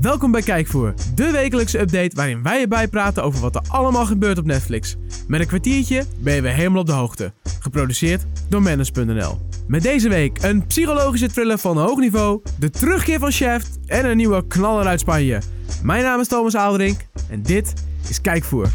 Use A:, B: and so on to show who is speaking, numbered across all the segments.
A: Welkom bij Kijkvoer, de wekelijkse update waarin wij je bijpraten over wat er allemaal gebeurt op Netflix. Met een kwartiertje ben je weer helemaal op de hoogte. Geproduceerd door Manus.nl. Met deze week een psychologische thriller van hoog niveau, de terugkeer van Shaft en een nieuwe knaller uit Spanje. Mijn naam is Thomas Aalderink en dit is Kijkvoer.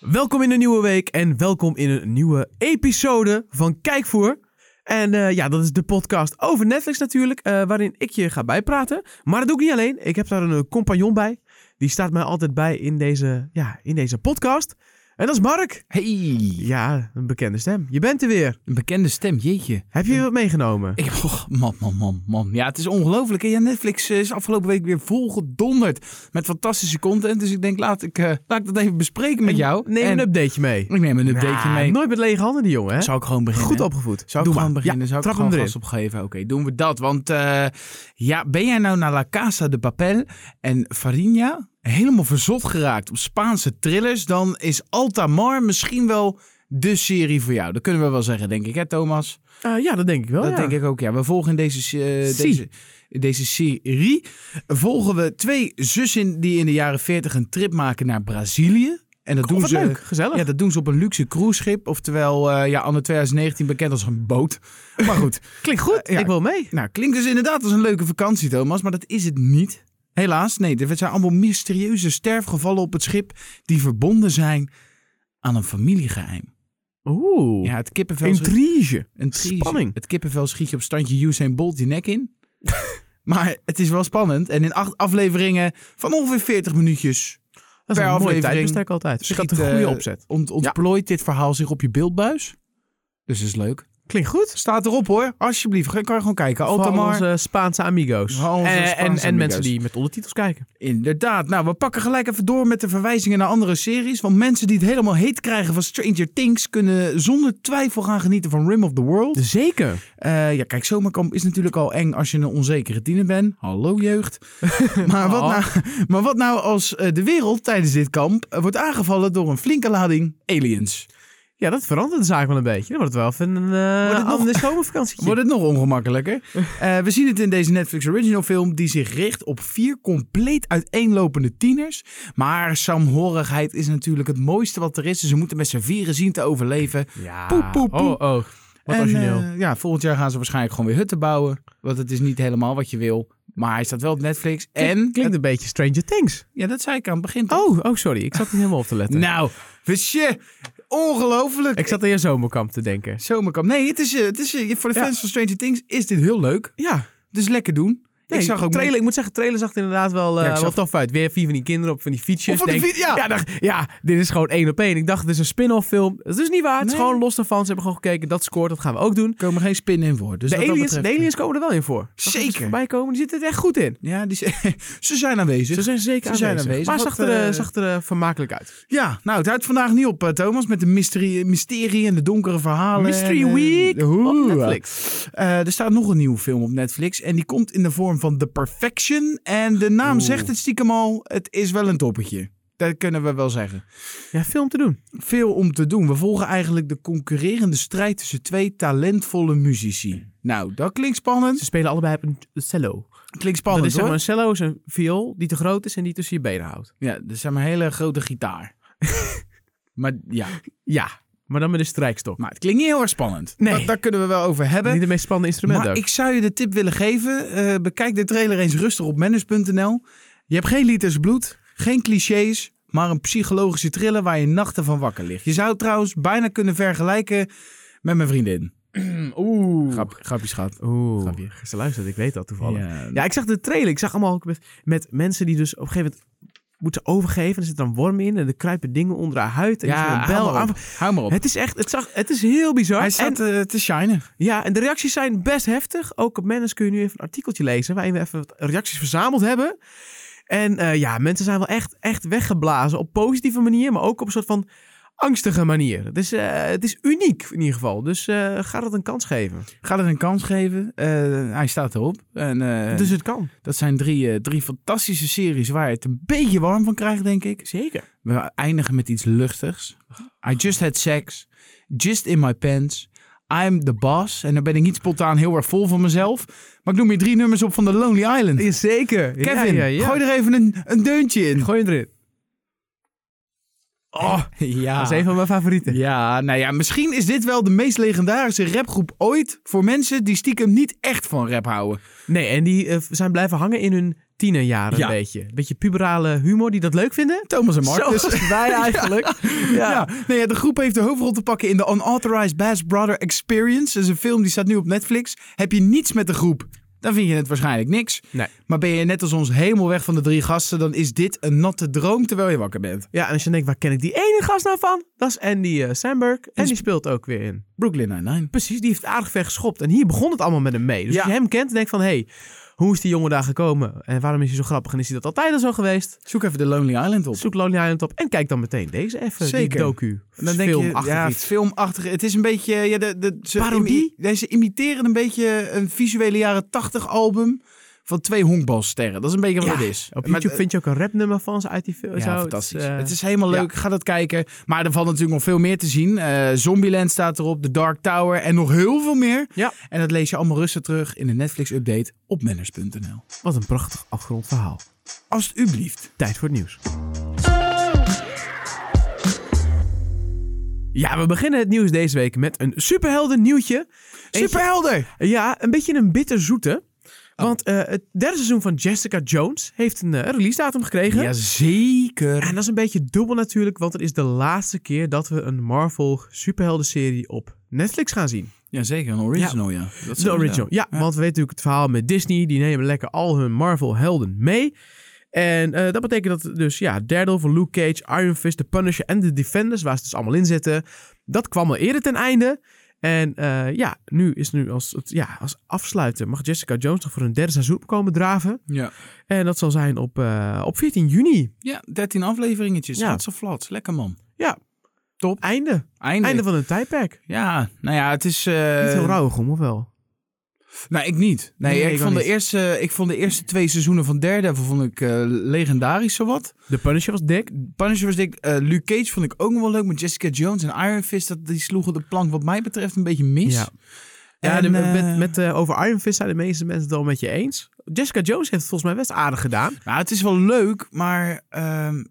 A: Welkom in een nieuwe week en welkom in een nieuwe episode van Kijkvoer. En eh, ja, dat is de podcast over Netflix natuurlijk, eh, waarin ik je ga bijpraten. Maar dat doe ik niet alleen. Ik heb daar een eh, compagnon bij. Die staat mij altijd bij in deze, ja, in deze podcast. En dat is Mark.
B: Hey,
A: Ja, een bekende stem. Je bent er weer.
B: een bekende stem, jeetje.
A: Heb je wat meegenomen?
B: Ik, oh, man, man, man, man. Ja, het is ongelooflijk. hè. Ja, Netflix eh, is afgelopen week weer volgedonderd met fantastische content. Dus ik denk, laat ik, eh, laat ik dat even bespreken met jou.
A: Neem
B: En
A: een updateje mee.
B: Ik neem een updateje
A: Nou,
B: mee.
A: Nooit met lege handen, die jongen. Hè?
B: Zou ik gewoon beginnen?
A: Goed opgevoed.
B: Zou ik
A: Doe
B: gewoon
A: maar.
B: beginnen?
A: Ja,
B: Zou ik
A: trap
B: gewoon
A: hem
B: gas opgeven? Oké, doen we dat. Want eh, ja, ben jij nou naar La Casa de Papel en Farinha helemaal verzot geraakt op Spaanse thrillers? Dan is Altamar misschien wel de serie voor jou. Dat kunnen we wel zeggen, denk ik, hè Thomas?
A: erin. Eh, ja, dat denk ik wel.
B: Dat
A: ja.
B: denk ik ook, ja. We volgen in deze, eh,
A: Zie.
B: deze, in deze serie volgen we twee zussen die in de jaren 40 een trip maken naar Brazilië. En dat,
A: Goh,
B: doen
A: wat
B: ze,
A: leuk. Gezellig.
B: ja, dat doen ze op een luxe cruiseschip, oftewel eh ja, anno 2019 bekend als een boot. Maar goed,
A: Klinkt goed.
B: Eh, ja.
A: Ik wil mee.
B: nou klinkt dus inderdaad als een leuke vakantie Thomas, maar dat is het niet. Helaas, nee, er zijn allemaal mysterieuze sterfgevallen op het schip die verbonden zijn aan een familiegeheim.
A: Oeh.
B: Ja, het kippenvel is-
A: Intrige.
B: een triesje.
A: Spanning.
B: Het kippenvel schiet je op standje Usain Bolt je nek in. maar het is wel spannend. En in acht afleveringen van ongeveer 40 minuutjes
A: Dat is
B: per
A: een mooi
B: aflevering
A: tijdbestek altijd. Dus ik had een
B: schiet,
A: goede
B: eh,
A: opzet.
B: ont ontplooit dit verhaal zich op je beeldbuis. Dus dat is leuk.
A: Klinkt goed.
B: Staat erop hoor. Alsjeblieft. Kan je gewoon kijken.
A: Voor al
B: Altamar.
A: onze Spaanse amigo's. Eh,
B: Voor al onze
A: en,
B: Spaanse
A: en, en
B: amigo's.
A: mensen die met ondertitels kijken.
B: Inderdaad. Nou, we pakken gelijk even door met de verwijzingen naar andere series. Want mensen die het helemaal heet krijgen van Stranger Things... kunnen zonder twijfel gaan genieten van Rim of the World.
A: Zeker.
B: Eh, ja, kijk, zomerkamp is natuurlijk al eng als je een onzekere tiener bent. Hallo jeugd. maar, wat
A: Oh.
B: nou, maar wat nou als eh, de wereld tijdens dit kamp eh, wordt aangevallen door een flinke lading aliens?
A: Ja, dat verandert de zaak wel een beetje. Dan wordt het wel even een
B: Wordt
A: eh
B: het nog-
A: ander zomervakantietje.
B: Wordt het nog ongemakkelijker? Eh, we zien het in deze Netflix original film die zich richt op vier compleet uiteenlopende tieners. Maar saamhorigheid is natuurlijk het mooiste wat er is. Dus ze moeten met z'n vieren zien te overleven.
A: Ja.
B: Poep, poep, poep.
A: Oh, oh. Wat
B: En,
A: origineel.
B: eh, ja, volgend jaar gaan ze waarschijnlijk gewoon weer hutten bouwen. Want het is niet helemaal wat je wil. Maar hij staat wel op Netflix. En
A: Klinkt een beetje Stranger Things.
B: Ja, dat zei ik aan het begin. toch?
A: Oh, oh sorry. Ik zat niet helemaal op te letten.
B: nou, visje. Ongelooflijk.
A: Ik zat aan je zomerkamp te denken.
B: Zomerkamp. Nee, het is, eh, het is, eh, voor de
A: Ja.
B: fans van Stranger Things is dit heel leuk.
A: Ja.
B: Dus lekker doen.
A: Nee,
B: ik zag ook...
A: trailer, ik moet zeggen, trailer zag er inderdaad wel, eh
B: Ja, ik zag-
A: wel tof uit. Weer vier van die kinderen op van die fietsjes.
B: Of van die
A: Denk-
B: fiets, ja.
A: dacht- ja, dit is gewoon één op één. Ik dacht, dit is een spin-off film. Dat is niet waar. Het is
B: Nee.
A: gewoon los daarvan. Ze hebben gewoon gekeken, dat scoort, dat gaan we ook doen.
B: Er komen geen spinnen in voor. Dus
A: De
B: wat dat
A: aliens, de
B: betreft-
A: aliens komen er wel in voor. Als
B: Zeker.
A: ze voorbij komen, die zitten er echt goed in.
B: Ja, die, ze zijn aanwezig.
A: Ze zijn zeker
B: Ze zijn
A: aanwezig.
B: aanwezig.
A: Maar
B: Wat,
A: zag er, eh,
B: eh,
A: zag er eh, vermakelijk uit.
B: Ja, nou, het houdt vandaag niet op, eh, Thomas, met de mysterie, mysterie en de donkere verhalen.
A: Mystery
B: en, eh,
A: Week op
B: oeh.
A: Netflix.
B: Eh, er staat nog een nieuwe film op Netflix en die komt in de vorm van The Perfection. En de naam
A: Oeh.
B: zegt het stiekem al, het is wel een toppetje. Dat kunnen we wel zeggen.
A: Ja, film te doen.
B: Veel om te doen. We volgen eigenlijk de concurrerende strijd tussen twee talentvolle muzici. Nou, dat klinkt
A: Ze
B: spannend.
A: spelen allebei op een cello.
B: Klinkt
A: Dat
B: spannend
A: is zeg
B: hoor.
A: maar een cello, is een viool die te groot is en die tussen je benen houdt.
B: Ja, dat is zeg maar een hele grote gitaar. maar ja,
A: Ja, maar dan met een strijkstok.
B: maar het klinkt niet heel erg spannend.
A: Nee.
B: Dat, daar kunnen we wel over hebben.
A: Niet de meest spannende instrumenten
B: Maar
A: ook.
B: ik zou je de tip willen geven. eh, bekijk de trailer eens rustig op manners.nl. Je hebt geen liters bloed, geen clichés, maar een psychologische thriller waar je nachten van wakker ligt. Je zou het trouwens bijna kunnen vergelijken met mijn vriendin.
A: Oeh.
B: Grap, grapje schat.
A: Oeh.
B: Grapje.
A: Ze luistert, ik weet dat toevallig. Ja.
B: Ja,
A: ik zag de trailer. Ik zag allemaal ook met, met mensen die dus op een gegeven moment moeten overgeven. Er zit dan worm in en er kruipen dingen onder haar huid. En
B: ja,
A: er zit een
B: hou
A: bel
B: maar
A: aan.
B: op. Hou maar op.
A: Het is echt, het, zag, het is heel bizar.
B: Hij
A: en,
B: staat eh, te shinen.
A: ja, en de reacties zijn best heftig. Ook op Manus kun je nu even een artikeltje lezen waarin we even wat reacties verzameld hebben. En eh, ja, mensen zijn wel echt, echt weggeblazen op positieve manier, maar ook op een soort van angstige manier. Het is, eh, het is uniek in ieder geval. Dus eh, ga dat een kans geven.
B: Ga het een kans geven. Eh, hij staat erop. En, eh,
A: Dus het kan.
B: dat zijn drie, eh, drie fantastische series waar je het een beetje warm van krijgt, denk ik.
A: Zeker.
B: We eindigen met iets luchtigs. I just had sex. Just in my pants. I'm the boss. En dan ben ik niet spontaan heel erg vol van mezelf. Maar ik noem je drie nummers op van The Lonely Island.
A: Zeker.
B: Kevin, gooi er even een, een deuntje in.
A: Gooi hem erin.
B: Oh, ja.
A: Dat is een van mijn favorieten.
B: Ja, nou ja, misschien is dit wel de meest legendarische rapgroep ooit voor mensen die stiekem niet echt van rap houden.
A: Nee, en die eh, zijn blijven hangen in hun tienerjaren
B: Ja.
A: een beetje. Een beetje puberale humor die dat leuk vinden.
B: Thomas en Mark. dus-
A: Zoals wij eigenlijk.
B: ja. Nee, ja, de groep heeft de hoofdrol te pakken in de Unauthorized Bass Brother Experience. Dat is een film die staat nu op Netflix. Heb je niets met de groep, dan vind je het waarschijnlijk niks.
A: Nee.
B: Maar ben je net als ons helemaal weg van de drie gasten, dan is dit een natte droom terwijl je wakker bent.
A: Ja, en als je denkt, waar ken ik die ene gast nou van? Dat is Andy eh, Samberg. En
B: sp-
A: die speelt ook weer in.
B: Brooklyn Nine-Nine.
A: Precies, die heeft aardig ver geschopt. En hier begon het allemaal met hem mee. Dus
B: Ja.
A: als je hem kent, denk van, hé, hey, hoe is die jongen daar gekomen? En waarom is hij zo grappig? En is hij dat altijd al zo geweest?
B: Zoek even de Lonely Island op.
A: Zoek Lonely Island op en kijk dan meteen deze even,
B: Zeker.
A: die docu.
B: En Dan denk je,
A: Filmachtig
B: ja,
A: iets.
B: filmachtig. Het is een beetje, ja, de, de, ze
A: Parodie?
B: imi- nee, ze imiteren een beetje een visuele jaren 80 album van twee honkbalsterren. Dat is een beetje wat
A: Ja,
B: het is.
A: Op
B: Maar-
A: YouTube vind je ook een rapnummer van ze uit die film.
B: ja,
A: zo.
B: fantastisch.
A: Het is, eh,
B: het is helemaal
A: ja.
B: leuk. Ga dat kijken. Maar er valt natuurlijk nog veel meer te zien. Eh, Zombieland staat erop, The Dark Tower en nog heel veel meer.
A: Ja.
B: En dat lees je allemaal rustig terug in de Netflix-update op manners.nl.
A: Wat een prachtig afgerond verhaal.
B: Alsjeblieft.
A: Tijd voor het nieuws. Ja, we beginnen het nieuws deze week met een superhelden nieuwtje. Eentje-
B: Superhelder!
A: Ja, een beetje een bitterzoete. Want eh, het derde seizoen van Jessica Jones heeft een eh, release datum gekregen.
B: Jazeker.
A: En dat is een beetje dubbel natuurlijk, want het is de laatste keer dat we een Marvel superheldenserie op Netflix gaan zien.
B: Jazeker, een original, ja. Dat is
A: De original. Ja, want we weten natuurlijk het verhaal met Disney. Die nemen lekker al hun Marvel-helden mee. En eh, dat betekent dat dus ja, Daredevil, Luke Cage, Iron Fist, The Punisher en The Defenders, waar ze dus allemaal in zitten. Dat kwam al eerder ten einde. En eh, ja, nu is nu als, het- ja, als afsluiter mag Jessica Jones nog voor een derde seizoen komen draven.
B: Ja.
A: En dat zal zijn op, eh, op 14 juni.
B: Ja, 13 afleveringetjes.
A: Ja.
B: Ja. zo flats. Lekker man.
A: Ja, top. Einde.
B: Eindelijk.
A: Einde van een tijdperk.
B: Ja, nou ja, het is... eh,
A: Niet heel rauwig om, of wel?
B: Nou, ik niet. Nee,
A: Nee,
B: ik,
A: ik ook
B: vond de
A: niet.
B: eerste, ik vond de eerste twee seizoenen van Daredevil vond ik, eh, legendarisch zowat.
A: The Punisher was dik.
B: Punisher was dik. eh, Luke Cage vond ik ook nog wel leuk. Met Jessica Jones en Iron Fist, dat, die sloegen de plank wat mij betreft een beetje mis.
A: Ja. Ja,
B: En,
A: de-
B: eh,
A: met, met, eh, over Iron Fist zijn de meeste mensen het al met je eens. Jessica Jones heeft het volgens mij best aardig gedaan.
B: Nou, het is wel leuk, maar... ehm,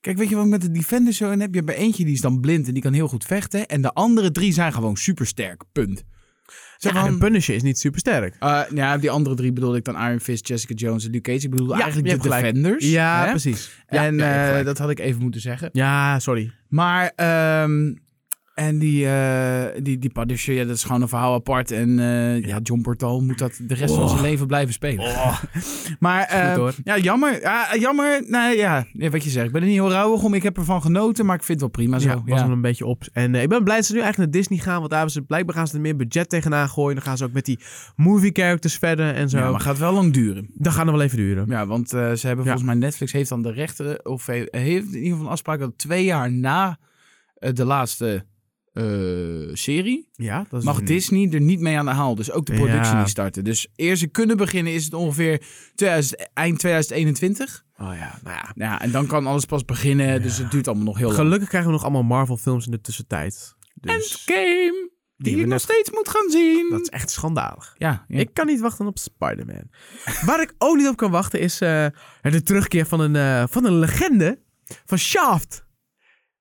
B: kijk, weet je wat ik met de Defenders zo in heb? Je hebt er eentje die is dan blind en die kan heel goed vechten. En de andere drie zijn gewoon supersterk. Punt. Zo
A: Ja,
B: van-
A: de Punisher is niet super sterk.
B: Eh, nou ja, die andere drie bedoelde ik dan Iron Fist, Jessica Jones en Luke Cage. Ik bedoelde
A: Ja,
B: eigenlijk
A: je
B: de
A: hebt gelijk.
B: Defenders.
A: Ja,
B: hè?
A: precies. Ja, ja,
B: En
A: je hebt
B: eh,
A: gelijk.
B: dat had ik even moeten zeggen.
A: ja, sorry.
B: Maar, ehm, en die, eh, die, die Punisher, ja, dat is gewoon een verhaal apart. En eh, ja, John Portal moet dat de rest van
A: Oh.
B: zijn leven blijven spelen. Maar, eh,
A: hoor.
B: ja, jammer. Ja, jammer. Nou ja, ja, wat je zegt. Ik ben er niet heel rauwig om. Ik heb ervan genoten, maar ik vind het wel prima zo.
A: ja,
B: Ja,
A: was hem een beetje op. En eh, ik ben blij dat ze nu eigenlijk naar Disney gaan. Want daar hebben ze blijkbaar gaan ze er meer budget tegenaan gooien. Dan gaan ze ook met die movie characters verder en zo.
B: Ja, maar gaat wel lang duren.
A: Dat gaan er wel even duren.
B: Ja, want eh, ze hebben
A: Ja.
B: volgens mij Netflix heeft dan de rechter, of he- heeft in ieder geval een afspraak dat twee jaar na eh, de laatste eh, serie
A: Ja, dat is
B: mag
A: een-
B: Disney er niet mee aan de haal. Dus ook de productie
A: Ja.
B: niet starten. Dus eer ze kunnen beginnen is het ongeveer 2000 eind 2021.
A: Oh ja, nou ja.
B: Ja, en dan kan alles pas beginnen. Dus het duurt allemaal nog heel lang.
A: Gelukkig krijgen we nog allemaal Marvel films in de tussentijd. Dus
B: Endgame, die,
A: hebben
B: ik nog steeds moet gaan zien.
A: dat is echt schandalig.
B: Ja, ja.
A: Ik kan niet wachten op Spider-Man. Waar ik ook niet op kan wachten is eh, de terugkeer van een, eh, van een legende van Shaft.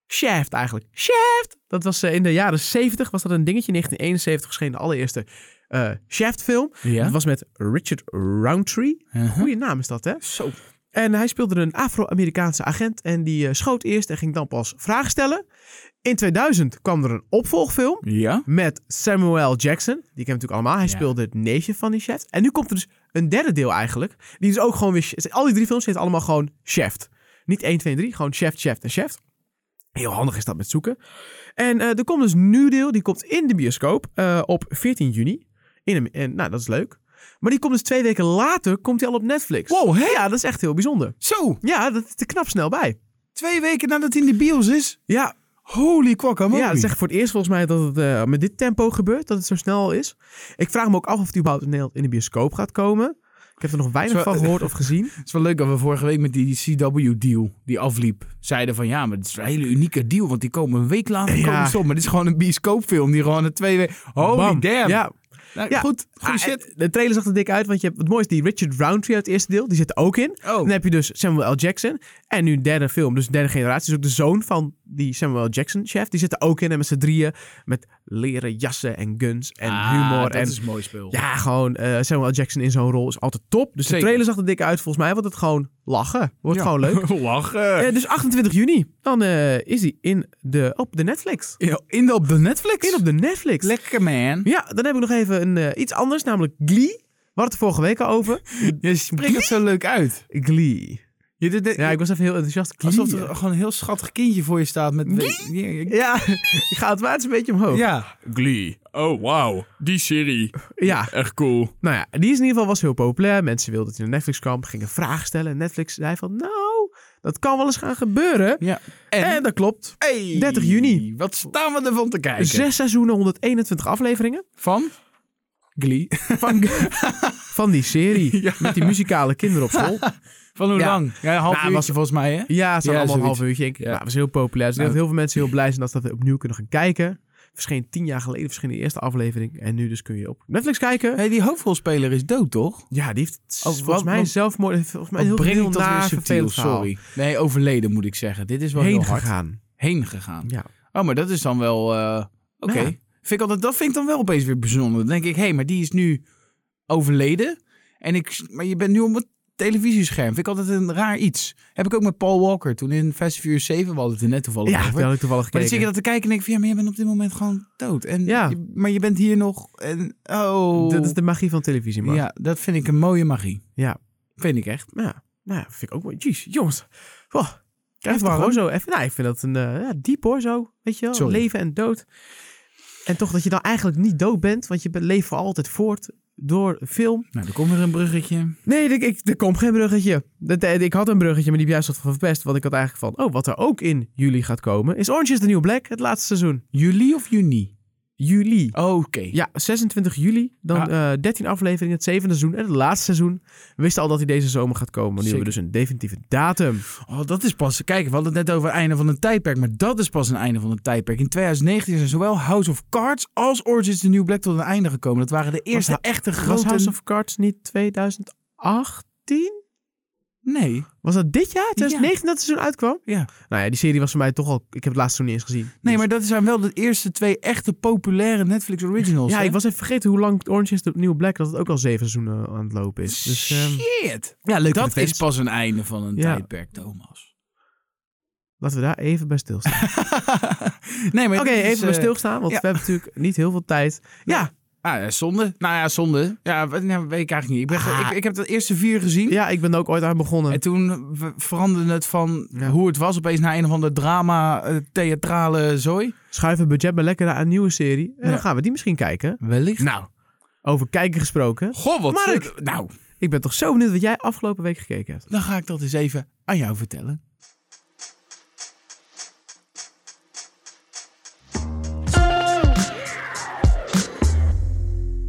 A: Shaft eigenlijk. Shaft! Dat was eh, in de jaren 70 was dat een dingetje. In 1971 verscheen de allereerste eh, Shaft film.
B: ja.
A: Dat was met Richard Roundtree.
B: Uh-huh.
A: Goeie naam is dat hè?
B: Zo.
A: En hij speelde een Afro-Amerikaanse agent en die eh, schoot eerst en ging dan pas vragen stellen. In 2000 kwam er een opvolgfilm
B: Ja.
A: met Samuel Jackson. Die kennen we natuurlijk allemaal. Hij
B: Ja.
A: speelde het neefje van die chef. En nu komt er dus een derde deel eigenlijk. Die is ook gewoon weer... Al die drie films heet allemaal gewoon chef. Niet 1, 2 en 3. Gewoon chef, chef en chef. Heel handig is dat met zoeken. En eh, er komt dus een nieuw deel. Die komt in de bioscoop eh, op 14 juni. In een, en, nou, dat is leuk. Maar die komt dus twee weken later komt die al op Netflix.
B: Wow, hè?
A: Ja, dat is echt heel bijzonder.
B: Zo,
A: Ja, dat is er knap snel bij.
B: twee weken nadat hij in de bios is.
A: Ja,
B: Holy guacamole.
A: Ja, het is echt voor het eerst volgens mij dat het eh, met dit tempo gebeurt, dat het zo snel is. Ik vraag me ook af of het überhaupt in Nederland in de bioscoop gaat komen. Ik heb er nog weinig
B: Zo- eh,
A: van gehoord of gezien.
B: Het is wel leuk dat we vorige week met die CW-deal die afliep, zeiden van ja, maar het is een hele unieke deal, want die komen een week later
A: Ja.
B: komen ze op. Maar dit is gewoon een bioscoopfilm die gewoon een twee weken... Holy
A: Bam.
B: damn.
A: Ja,
B: Nou,
A: Ja.
B: Goed, goede
A: Ah,
B: shit.
A: en De trailer zag er dik uit, want je hebt het mooiste, die Richard Roundtree uit het eerste deel, die zit er ook in.
B: Oh,
A: Dan heb je dus Samuel L. Jackson. En nu een derde film, dus de derde generatie. Dus ook de zoon van die Samuel L. Jackson chef. Die zit er ook in. En met z'n drieën met leren jassen en guns en
B: Ah,
A: humor.
B: Dat
A: en
B: is een mooi speel.
A: ja, gewoon eh, Samuel L. Jackson in zo'n rol is altijd top. Dus
B: Zeker.
A: de trailer zag er dik uit. Volgens mij wordt het gewoon lachen. Wordt
B: Ja.
A: gewoon leuk.
B: Lachen.
A: Eh, dus 28 juni, dan eh, is hij in de, op de Netflix.
B: Ja, In de, op de Netflix?
A: In op de Netflix.
B: Lekker man.
A: Ja, dan heb ik nog even een, eh, iets anders, namelijk Glee. We hadden het er vorige week al over.
B: Je spreekt het zo leuk uit.
A: Glee.
B: Je, dit- dit-
A: Ja, ik was even heel enthousiast. Glee.
B: alsof er gewoon een heel schattig kindje voor je staat met... Ja, ja,
A: Ja, ik ga automatisch een beetje omhoog. Ja.
B: ja.
C: Glee. Oh, wauw. Die serie. Echt cool.
A: nou ja, die is in ieder geval was heel populair. Mensen wilden dat hij naar Netflix kwam, gingen vragen stellen. En Netflix zei van, nou, dat kan wel eens gaan gebeuren.
B: En,
A: En, dat klopt.
B: Hey,
A: 30 juni.
B: Wat staan we ervan te kijken?
A: Zes seizoenen, 121 afleveringen
B: Van? Glee.
A: van, van die serie. Met die muzikale kinderen op school.
B: Van hoe
A: Ja.
B: lang? Ja, een half
A: Nou,
B: uurtje
A: was-
B: volgens mij, hè?
A: Ja, ze
B: Ja,
A: hadden allemaal een
B: zoiets.
A: half uurtje. denk Ik
B: Ja.
A: Nou, dat was heel populair. Dus ik denk
B: Nou.
A: dat heel veel mensen heel blij zijn dat ze dat opnieuw kunnen gaan kijken. Verscheen tien jaar geleden, verscheen de eerste aflevering. En nu dus kun je op Netflix kijken.
B: Hey, die hoofdrolspeler is dood, toch?
A: Ja, die heeft volgens
B: wat-
A: mij
B: wat-
A: zelfmoord. Volgens mij een heel,
B: Wat breng
A: heel
B: ik dat weer
A: naar
B: subtiel,
A: vervelend verhaal.
B: sorry. Nee, overleden moet ik zeggen. Dit is wel
A: Heen
B: heel hard.
A: gegaan.
B: Heen gegaan.
A: Ja.
B: Oh, maar dat is dan wel... eh, Oké.
A: Ja.
B: Vind ik altijd, dat vind ik dan wel opeens weer bijzonder. Dan denk ik, hé, hey, maar die is nu overleden. En ik, maar je bent nu op het televisiescherm. Vind ik altijd een raar iets. Heb ik ook met Paul Walker. Toen in Fast and Furious 7, we hadden het er net toevallig
A: Ja,
B: over.
A: daar had ik toevallig
B: Maar dan
A: gekeken.
B: zit je dat te kijken en denk ik van ja, maar jij bent op dit moment gewoon dood. En
A: Ja.
B: je- maar je bent hier nog en oh.
A: Dat is de magie van televisie, man. Ja.
B: Ja, dat vind ik een mooie magie.
A: Ja.
B: Vind ik echt.
A: Nou, ja, vind ik ook mooi. Jeez, jongens. Oh, krijg
B: maar
A: gewoon zo even. Nou, ik vind dat een eh, ja, diep hoor, zo. Weet je wel,
B: Sorry.
A: leven en dood. En toch dat je dan eigenlijk niet dood bent, want je bent- leeft voor altijd voort door film.
B: Nou, er komt weer een bruggetje.
A: Nee, ik, ik, er komt geen bruggetje. Dat, eh, ik had een bruggetje, maar die heb juist wat van verpest. Want ik had eigenlijk van, oh, wat er ook in juli gaat komen... is Orange is the New Black, het laatste seizoen.
B: Juli of juni?
A: Juli.
B: Oké.
A: Ja, 26 juli. Dan eh, 13 afleveringen, het zevende seizoen en het laatste seizoen. We wisten al dat hij deze zomer gaat komen. maar Nu
B: Zeker.
A: hebben we dus een definitieve datum.
B: Oh, dat is pas. Kijk, we hadden het net over het einde van een tijdperk, maar dat is pas een einde van een tijdperk. In 2019 zijn zowel House of Cards als Origins the New Black tot een einde gekomen. Dat waren de eerste
A: Ha-
B: echte
A: Was
B: grote.
A: House of Cards niet 2018?
B: Nee.
A: Was dat dit jaar? 2019 dat het seizoen uitkwam?
B: Ja.
A: Nou ja, die serie was voor mij toch al... Ik heb het laatste seizoen niet eens gezien.
B: Nee,
A: Dus-
B: maar dat zijn wel de eerste twee echte populaire Netflix originals.
A: Ja,
B: hè?
A: ik was even vergeten hoe lang Orange is the New Black... dat het ook al zeven seizoenen aan het lopen is. Dus, ehm,
B: Shit.
A: Ja, leuk.
B: Dat is pas een einde van een
A: Ja.
B: tijdperk, Thomas.
A: Laten we daar even bij stilstaan.
B: nee, maar
A: Oké,
B: dit is,
A: even bij
B: eh,
A: stilstaan, want
B: ja.
A: we hebben natuurlijk niet heel veel tijd. Ja,
B: Ah, ja, zonde. Nou ja, zonde. Ja, we- nou, weet ik eigenlijk niet. Ik, ben,
A: Ah.
B: ik, ik heb de eerste vier gezien.
A: ja, ik ben er ook ooit aan begonnen.
B: En toen we- veranderde het van
A: Ja.
B: hoe het was opeens naar een of ander drama, eh, theatrale zooi.
A: Schuif het budget maar lekker naar een nieuwe serie. En
B: Ja.
A: dan gaan we die misschien kijken.
B: Wellicht. Nou,
A: Over kijken gesproken.
B: goh, wat...
A: Mark!
B: Nou,
A: Ik ben toch zo benieuwd wat jij afgelopen week gekeken hebt.
B: dan ga ik dat eens even aan jou vertellen.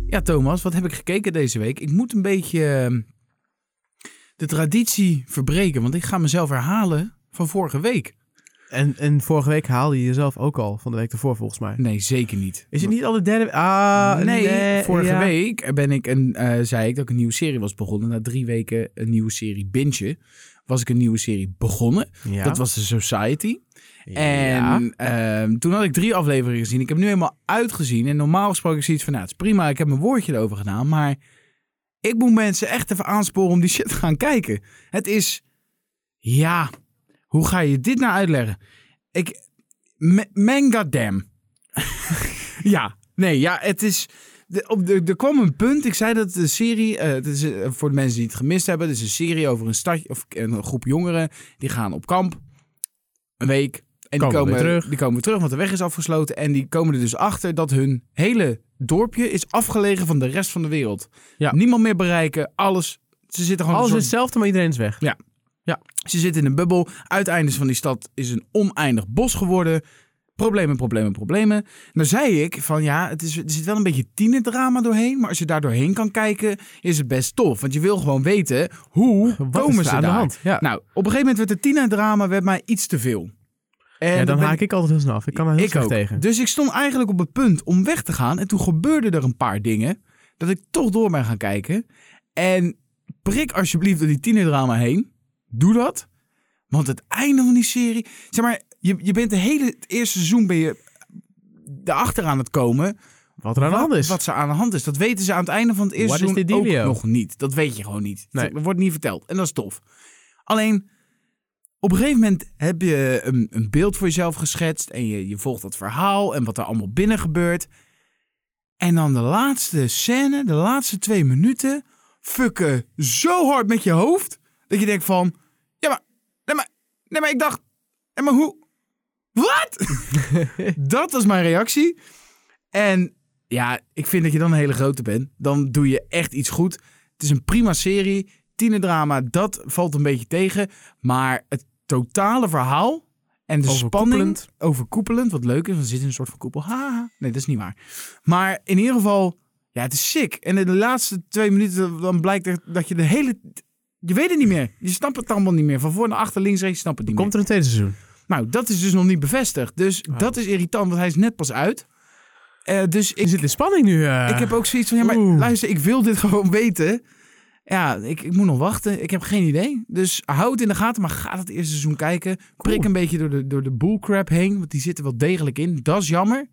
B: Ja, Thomas, wat heb ik gekeken deze week? Ik moet een beetje eh, de traditie verbreken, want ik ga mezelf herhalen van vorige week.
A: En, en vorige week haalde je jezelf ook al, van de week ervoor volgens mij.
B: Nee, zeker niet.
A: Is het niet al de derde... Ah,
B: nee, vorige
A: ja.
B: week ben ik een, eh, zei ik dat ik een nieuwe serie was begonnen. Na drie weken een nieuwe serie bingen, was ik een nieuwe serie begonnen.
A: Ja.
B: Dat was de Society.
A: Ja.
B: En ehm, toen had ik drie afleveringen gezien. Ik heb nu helemaal uitgezien. En normaal gesproken zie ik zoiets van, nou, het is prima. Ik heb mijn woordje erover gedaan. Maar ik moet mensen echt even aansporen om die shit te gaan kijken. Het is, ja, hoe ga je dit nou uitleggen? Ik, me- man goddamn. ja, nee, ja, het is... de- op de, er kwam een punt, ik zei dat de serie, eh, het is, eh, voor de mensen die het gemist hebben, het is een serie over een stadje of een groep jongeren die gaan op kamp een week. En
A: Komen
B: die, komen,
A: weer terug.
B: die komen weer terug, want de weg is afgesloten. En die komen er dus achter dat hun hele dorpje is afgelegen van de rest van de wereld.
A: Ja.
B: Niemand meer bereiken, alles. Ze zitten gewoon
A: Alles
B: in
A: is
B: een soort-
A: hetzelfde, maar iedereen is weg.
B: ze zitten in een bubbel. Uiteindes van die stad is een oneindig bos geworden. Problemen, problemen, problemen. Nou zei ik van ja, het is, er zit wel een beetje tienerdrama doorheen. Maar als je daar doorheen kan kijken, is het best tof. Want je wil gewoon weten, hoe
A: Wat
B: komen
A: is er
B: ze
A: aan
B: daar?
A: de hand? Ja.
B: Nou, op een gegeven moment werd het tienerdrama werd mij iets te veel. En
A: ja, dan
B: ben
A: haak ik altijd heel snel af. Ik kan daar heel
B: ik
A: slecht
B: ook.
A: tegen.
B: Dus ik stond eigenlijk op het punt om weg te gaan. En toen gebeurden er een paar dingen dat ik toch door ben gaan kijken. En prik alsjeblieft door die tienerdrama heen. Doe dat. Want het einde van die serie... Zeg maar, je, je bent de hele, het eerste seizoen ben je erachter aan het komen...
A: Wat er aan de hand is.
B: Wat ze aan de hand is. Dat weten ze aan het einde van het eerste
A: What is
B: seizoen
A: the
B: ook
A: dealio?
B: nog niet. Dat weet je gewoon niet.
A: Nee.
B: Dat wordt niet verteld. En dat is tof. Alleen, op een gegeven moment heb je een, een beeld voor jezelf geschetst. En je, je volgt dat verhaal en wat er allemaal binnen gebeurt. En dan de laatste scène, de laatste twee minuten... fucken zo hard met je hoofd... dat je denkt van... Ja, maar... Nee, maar, nee, maar ik dacht... Nee, maar hoe... Wat? dat was mijn reactie. En ja, ik vind dat je dan een hele grote bent. Dan doe je echt iets goed. Het is een prima serie. Tienerdrama, dat valt een beetje tegen. Maar het totale verhaal en de spanning...
A: Overkoepelend.
B: Overkoepelend, wat leuk is. Want er zit in een soort van koepel. Haha. Nee, dat is niet waar. Maar in ieder geval... Ja, het is sick. En in de laatste twee minuten dan blijkt er dat je de hele... Je weet het niet meer. Je snapt het allemaal niet meer. Van voor naar achter, links, rechts, je snapt het niet meer.
A: Komt er een tweede seizoen?
B: Nou, dat is dus nog niet bevestigd. Dus dat is irritant, want hij is net pas uit. Eh, dus
A: Je
B: ik,
A: zit in spanning nu. eh.
B: ik heb ook zoiets van, ja, maar
A: Oeh.
B: luister, ik wil dit gewoon weten. Ja, ik, ik moet nog wachten. Ik heb geen idee. Dus hou het in de gaten, maar ga het eerste seizoen kijken. Prik een beetje door de, door de bullcrap heen, want die zitten wel degelijk in. Dat is jammer.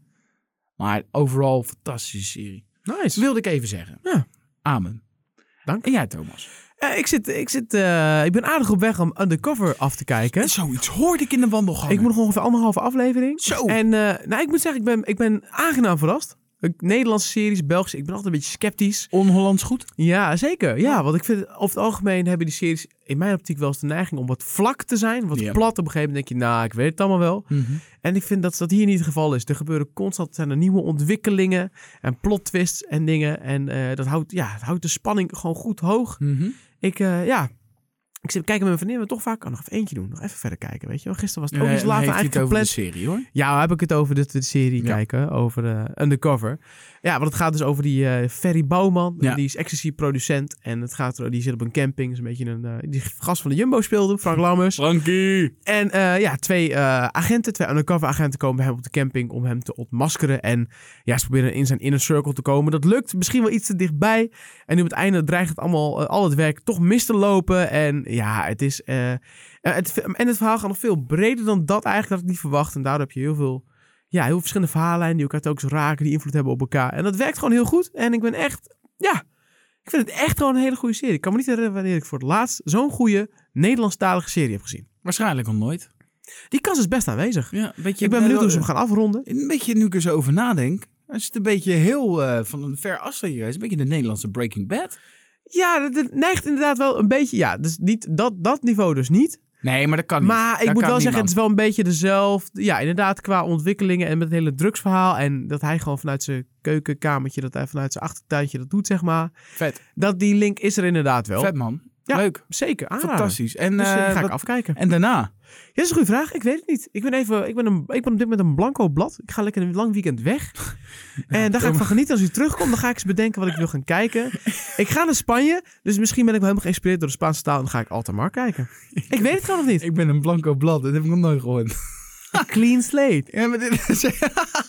B: Maar overal fantastische serie.
A: Nice.
B: wilde ik even zeggen.
A: Ja.
B: Amen.
A: Dank.
B: En jij, Thomas?
A: Eh, ik, zit, ik, zit, eh, ik ben aardig op weg om Undercover af te kijken.
B: Zoiets hoorde ik in de wandelgang.
A: Ik moet nog ongeveer anderhalve aflevering.
B: Zo.
A: En eh, nou, ik moet zeggen, ik ben, ik ben aangenaam verrast. Ik- Nederlandse series, Belgische, ik ben altijd een beetje sceptisch.
B: On-Hollands goed.
A: Ja, zeker. Ja, want ik vind over het algemeen hebben die series in mijn optiek wel eens de neiging om wat vlak te zijn. Wat
B: Ja.
A: plat. Op een gegeven moment denk je, nou, ik weet het allemaal wel.
B: Mhm,
A: En ik vind dat dat hier niet het geval is. Er gebeuren constant zijn er nieuwe ontwikkelingen en plot twists en dingen. En eh, dat houdt, ja, het houdt de spanning gewoon goed hoog.
B: Mhm.
A: Ik, eh, ja. Ik zit kijken met mijn vriendin, maar toch vaak kan nog even eentje doen. Nog even verder kijken, weet je wel. Gisteren was het ook
B: Eh,
A: iets later
B: heeft hij
A: eigenlijk
B: het over de
A: gepland.
B: serie, hoor.
A: Ja, waar heb ik het over dat we de serie
B: Ja.
A: kijken, over eh, Undercover. Ja, want het gaat dus over die eh, Ferry Bouwman.
B: Ja.
A: Die is ecstasy-producent en het gaat, er- die zit op een camping. Is een beetje een, eh, die gast van de Jumbo speelde, Frank Lammers.
C: Frankie.
A: En eh, ja, twee eh, agenten, twee undercover agenten komen bij hem op de camping om hem te ontmaskeren. En ja, ze proberen in zijn inner circle te komen. Dat lukt misschien wel iets te dichtbij. En nu op het einde dreigt het allemaal, eh, al het werk toch mis te lopen. En ja, het is... eh, eh, het, en het verhaal gaat nog veel breder dan dat eigenlijk, dat ik niet verwacht. En daardoor heb je heel veel... Ja, heel veel verschillende verhaallijnen die elkaar telkens raken, die invloed hebben op elkaar. En dat werkt gewoon heel goed. En ik ben echt... Ja, ik vind het echt gewoon een hele goede serie. Ik kan me niet herinneren wanneer ik voor het laatst zo'n goede Nederlandstalige serie heb gezien.
B: Waarschijnlijk nog nooit.
A: Die kans is best aanwezig.
B: Ja, een beetje, eh,
A: ik ben benieuwd hoe ze hem gaan afronden.
B: Een beetje, nu ik er zo over nadenk, is het een beetje heel eh, van een ver afstandje. Het is een beetje de Nederlandse Breaking Bad.
A: Ja, dat- dat neigt inderdaad wel een beetje. Ja, dus niet, dat, dat niveau dus Ah, niet.
B: Nee, maar dat kan
A: Maar ik
B: Dat
A: moet
B: kan
A: wel zeggen, het
B: niemand.
A: is wel een beetje dezelfde. Ja, inderdaad, qua ontwikkelingen en met het hele drugsverhaal. En dat hij gewoon vanuit zijn keukenkamertje, dat hij vanuit zijn achtertuintje dat doet, zeg maar.
B: Vet.
A: Dat die link is er inderdaad wel.
B: Vet man.
A: Ja,
B: Leuk.
A: Zeker, aanraden.
B: Fantastisch. En,
A: Dus eh,
B: eh,
A: ga ik
B: wat-
A: afkijken.
B: en daarna?
A: Ja, dat is een goede vraag. Ik weet het niet. Ik ben, even, ik ben, een, ik ben op dit moment een blanco blad. Ik ga lekker een lang weekend weg. en daar ga ik van genieten. Als u terugkomt, dan ga ik eens bedenken wat ik wil gaan kijken. Ik ga naar Spanje, dus misschien ben ik wel helemaal geïnspireerd door de Spaanse taal. En dan ga ik Altamar kijken. Ik weet het gewoon nog niet.
B: Ik ben een blanco blad. Dat heb ik nog nooit gehoord.
A: Clean slate.
B: Ja, maar dit, zeg,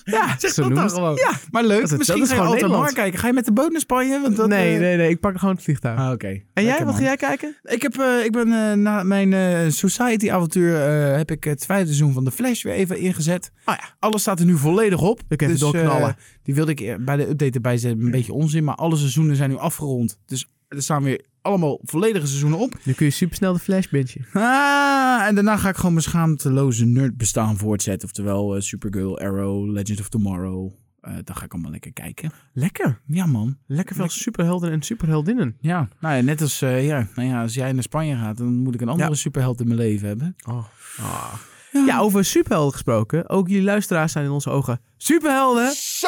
A: Ja, zo
B: zeg dat dan
A: noemen ze-
B: gewoon.
A: Ja.
B: Maar leuk.
A: Dat het-
B: Misschien
A: dat is
B: ga je
A: gewoon
B: altijd maar
A: Nederland.
B: kijken. Ga je met de boot naar Spanje? Want dat,
A: nee,
B: eh,
A: nee, nee. Ik pak gewoon het vliegtuig.
B: Ah, oké.
A: en jij,
B: Lekker,
A: wat
B: man.
A: ga jij kijken?
B: Ik, heb, eh, ik ben eh, na mijn eh, society-avontuur eh, heb ik het tweede seizoen van The Flash weer even ingezet.
A: Oh ja.
B: Alles staat er nu volledig op.
A: Ik even
B: eh,
A: doorknallen.
B: die wilde ik eh, bij de update erbij zetten. Een beetje onzin, maar alle seizoenen zijn nu afgerond. Dus er staan weer allemaal volledige seizoenen op.
A: Nu kun je supersnel de flash bingen.
B: Ah, en daarna ga ik gewoon mijn schaamteloze nerdbestaan voortzetten. Oftewel eh, Supergirl, Arrow, Legend of Tomorrow. Eh dan ga ik allemaal lekker kijken.
A: Lekker.
B: Ja, man.
A: Lekker veel superhelden en superheldinnen.
B: Ja, nou ja, net als, eh, ja, nou ja, als jij naar Spanje gaat, dan moet ik een andere
A: Ja.
B: superheld in mijn leven hebben.
A: Oh. Ja, over superhelden gesproken. Ook jullie luisteraars zijn in onze ogen superhelden.
B: Zo!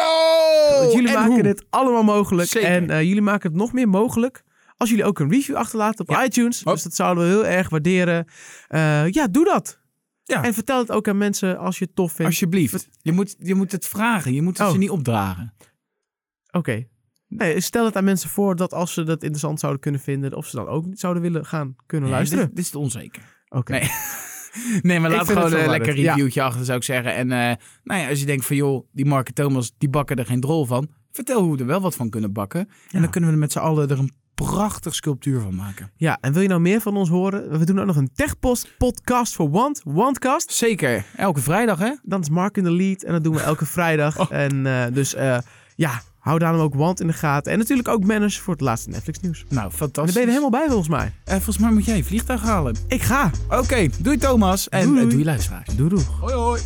A: Want jullie
B: En
A: maken
B: hoe?
A: dit allemaal mogelijk.
B: Zeker.
A: En eh, jullie maken het nog meer mogelijk. Als jullie ook een review achterlaten op
B: Ja.
A: iTunes.
B: Hop.
A: Dus dat zouden we heel erg waarderen. Eh, ja, doe dat.
B: Ja.
A: En vertel het ook aan mensen als je het tof vindt.
B: Alsjeblieft. Je moet, je moet het vragen. Je moet het
A: Oh.
B: ze niet opdragen.
A: Oké. Nee, stel het aan mensen voor dat als ze dat interessant zouden kunnen vinden, of ze dan ook zouden willen gaan kunnen
B: Nee,
A: luisteren.
B: Dit, dit is te onzeker.
A: Oké.
B: Nee. Nee, maar
A: Ik
B: laat
A: vind
B: gewoon
A: het
B: een
A: verwarrend,
B: lekker reviewtje achter, zou ik zeggen. En eh, nou ja, als je denkt van joh, die Mark en Thomas, die bakken er geen drol van. Vertel hoe we er wel wat van kunnen bakken. En dan kunnen we er met z'n allen er een prachtig sculptuur van maken.
A: Ja, en wil je nou meer van ons horen? We doen ook nog een Techpost podcast voor Want, Wantcast.
B: Zeker. Elke vrijdag, hè?
A: Dan is Mark in de lead en dat doen we elke vrijdag. En eh, dus eh, ja, hou daarom ook Want in de gaten. En natuurlijk ook Manners voor het laatste Netflix nieuws. En
B: Nou,
A: daar
B: fantastisch.
A: ben je er helemaal bij volgens mij.
B: Eh, volgens mij moet jij je vliegtuig halen.
A: Ik ga.
B: Oké, doei Thomas. En eh,
A: Doei.
B: doei, doei luisteraars.
A: Doei doei.
C: Hoi hoi.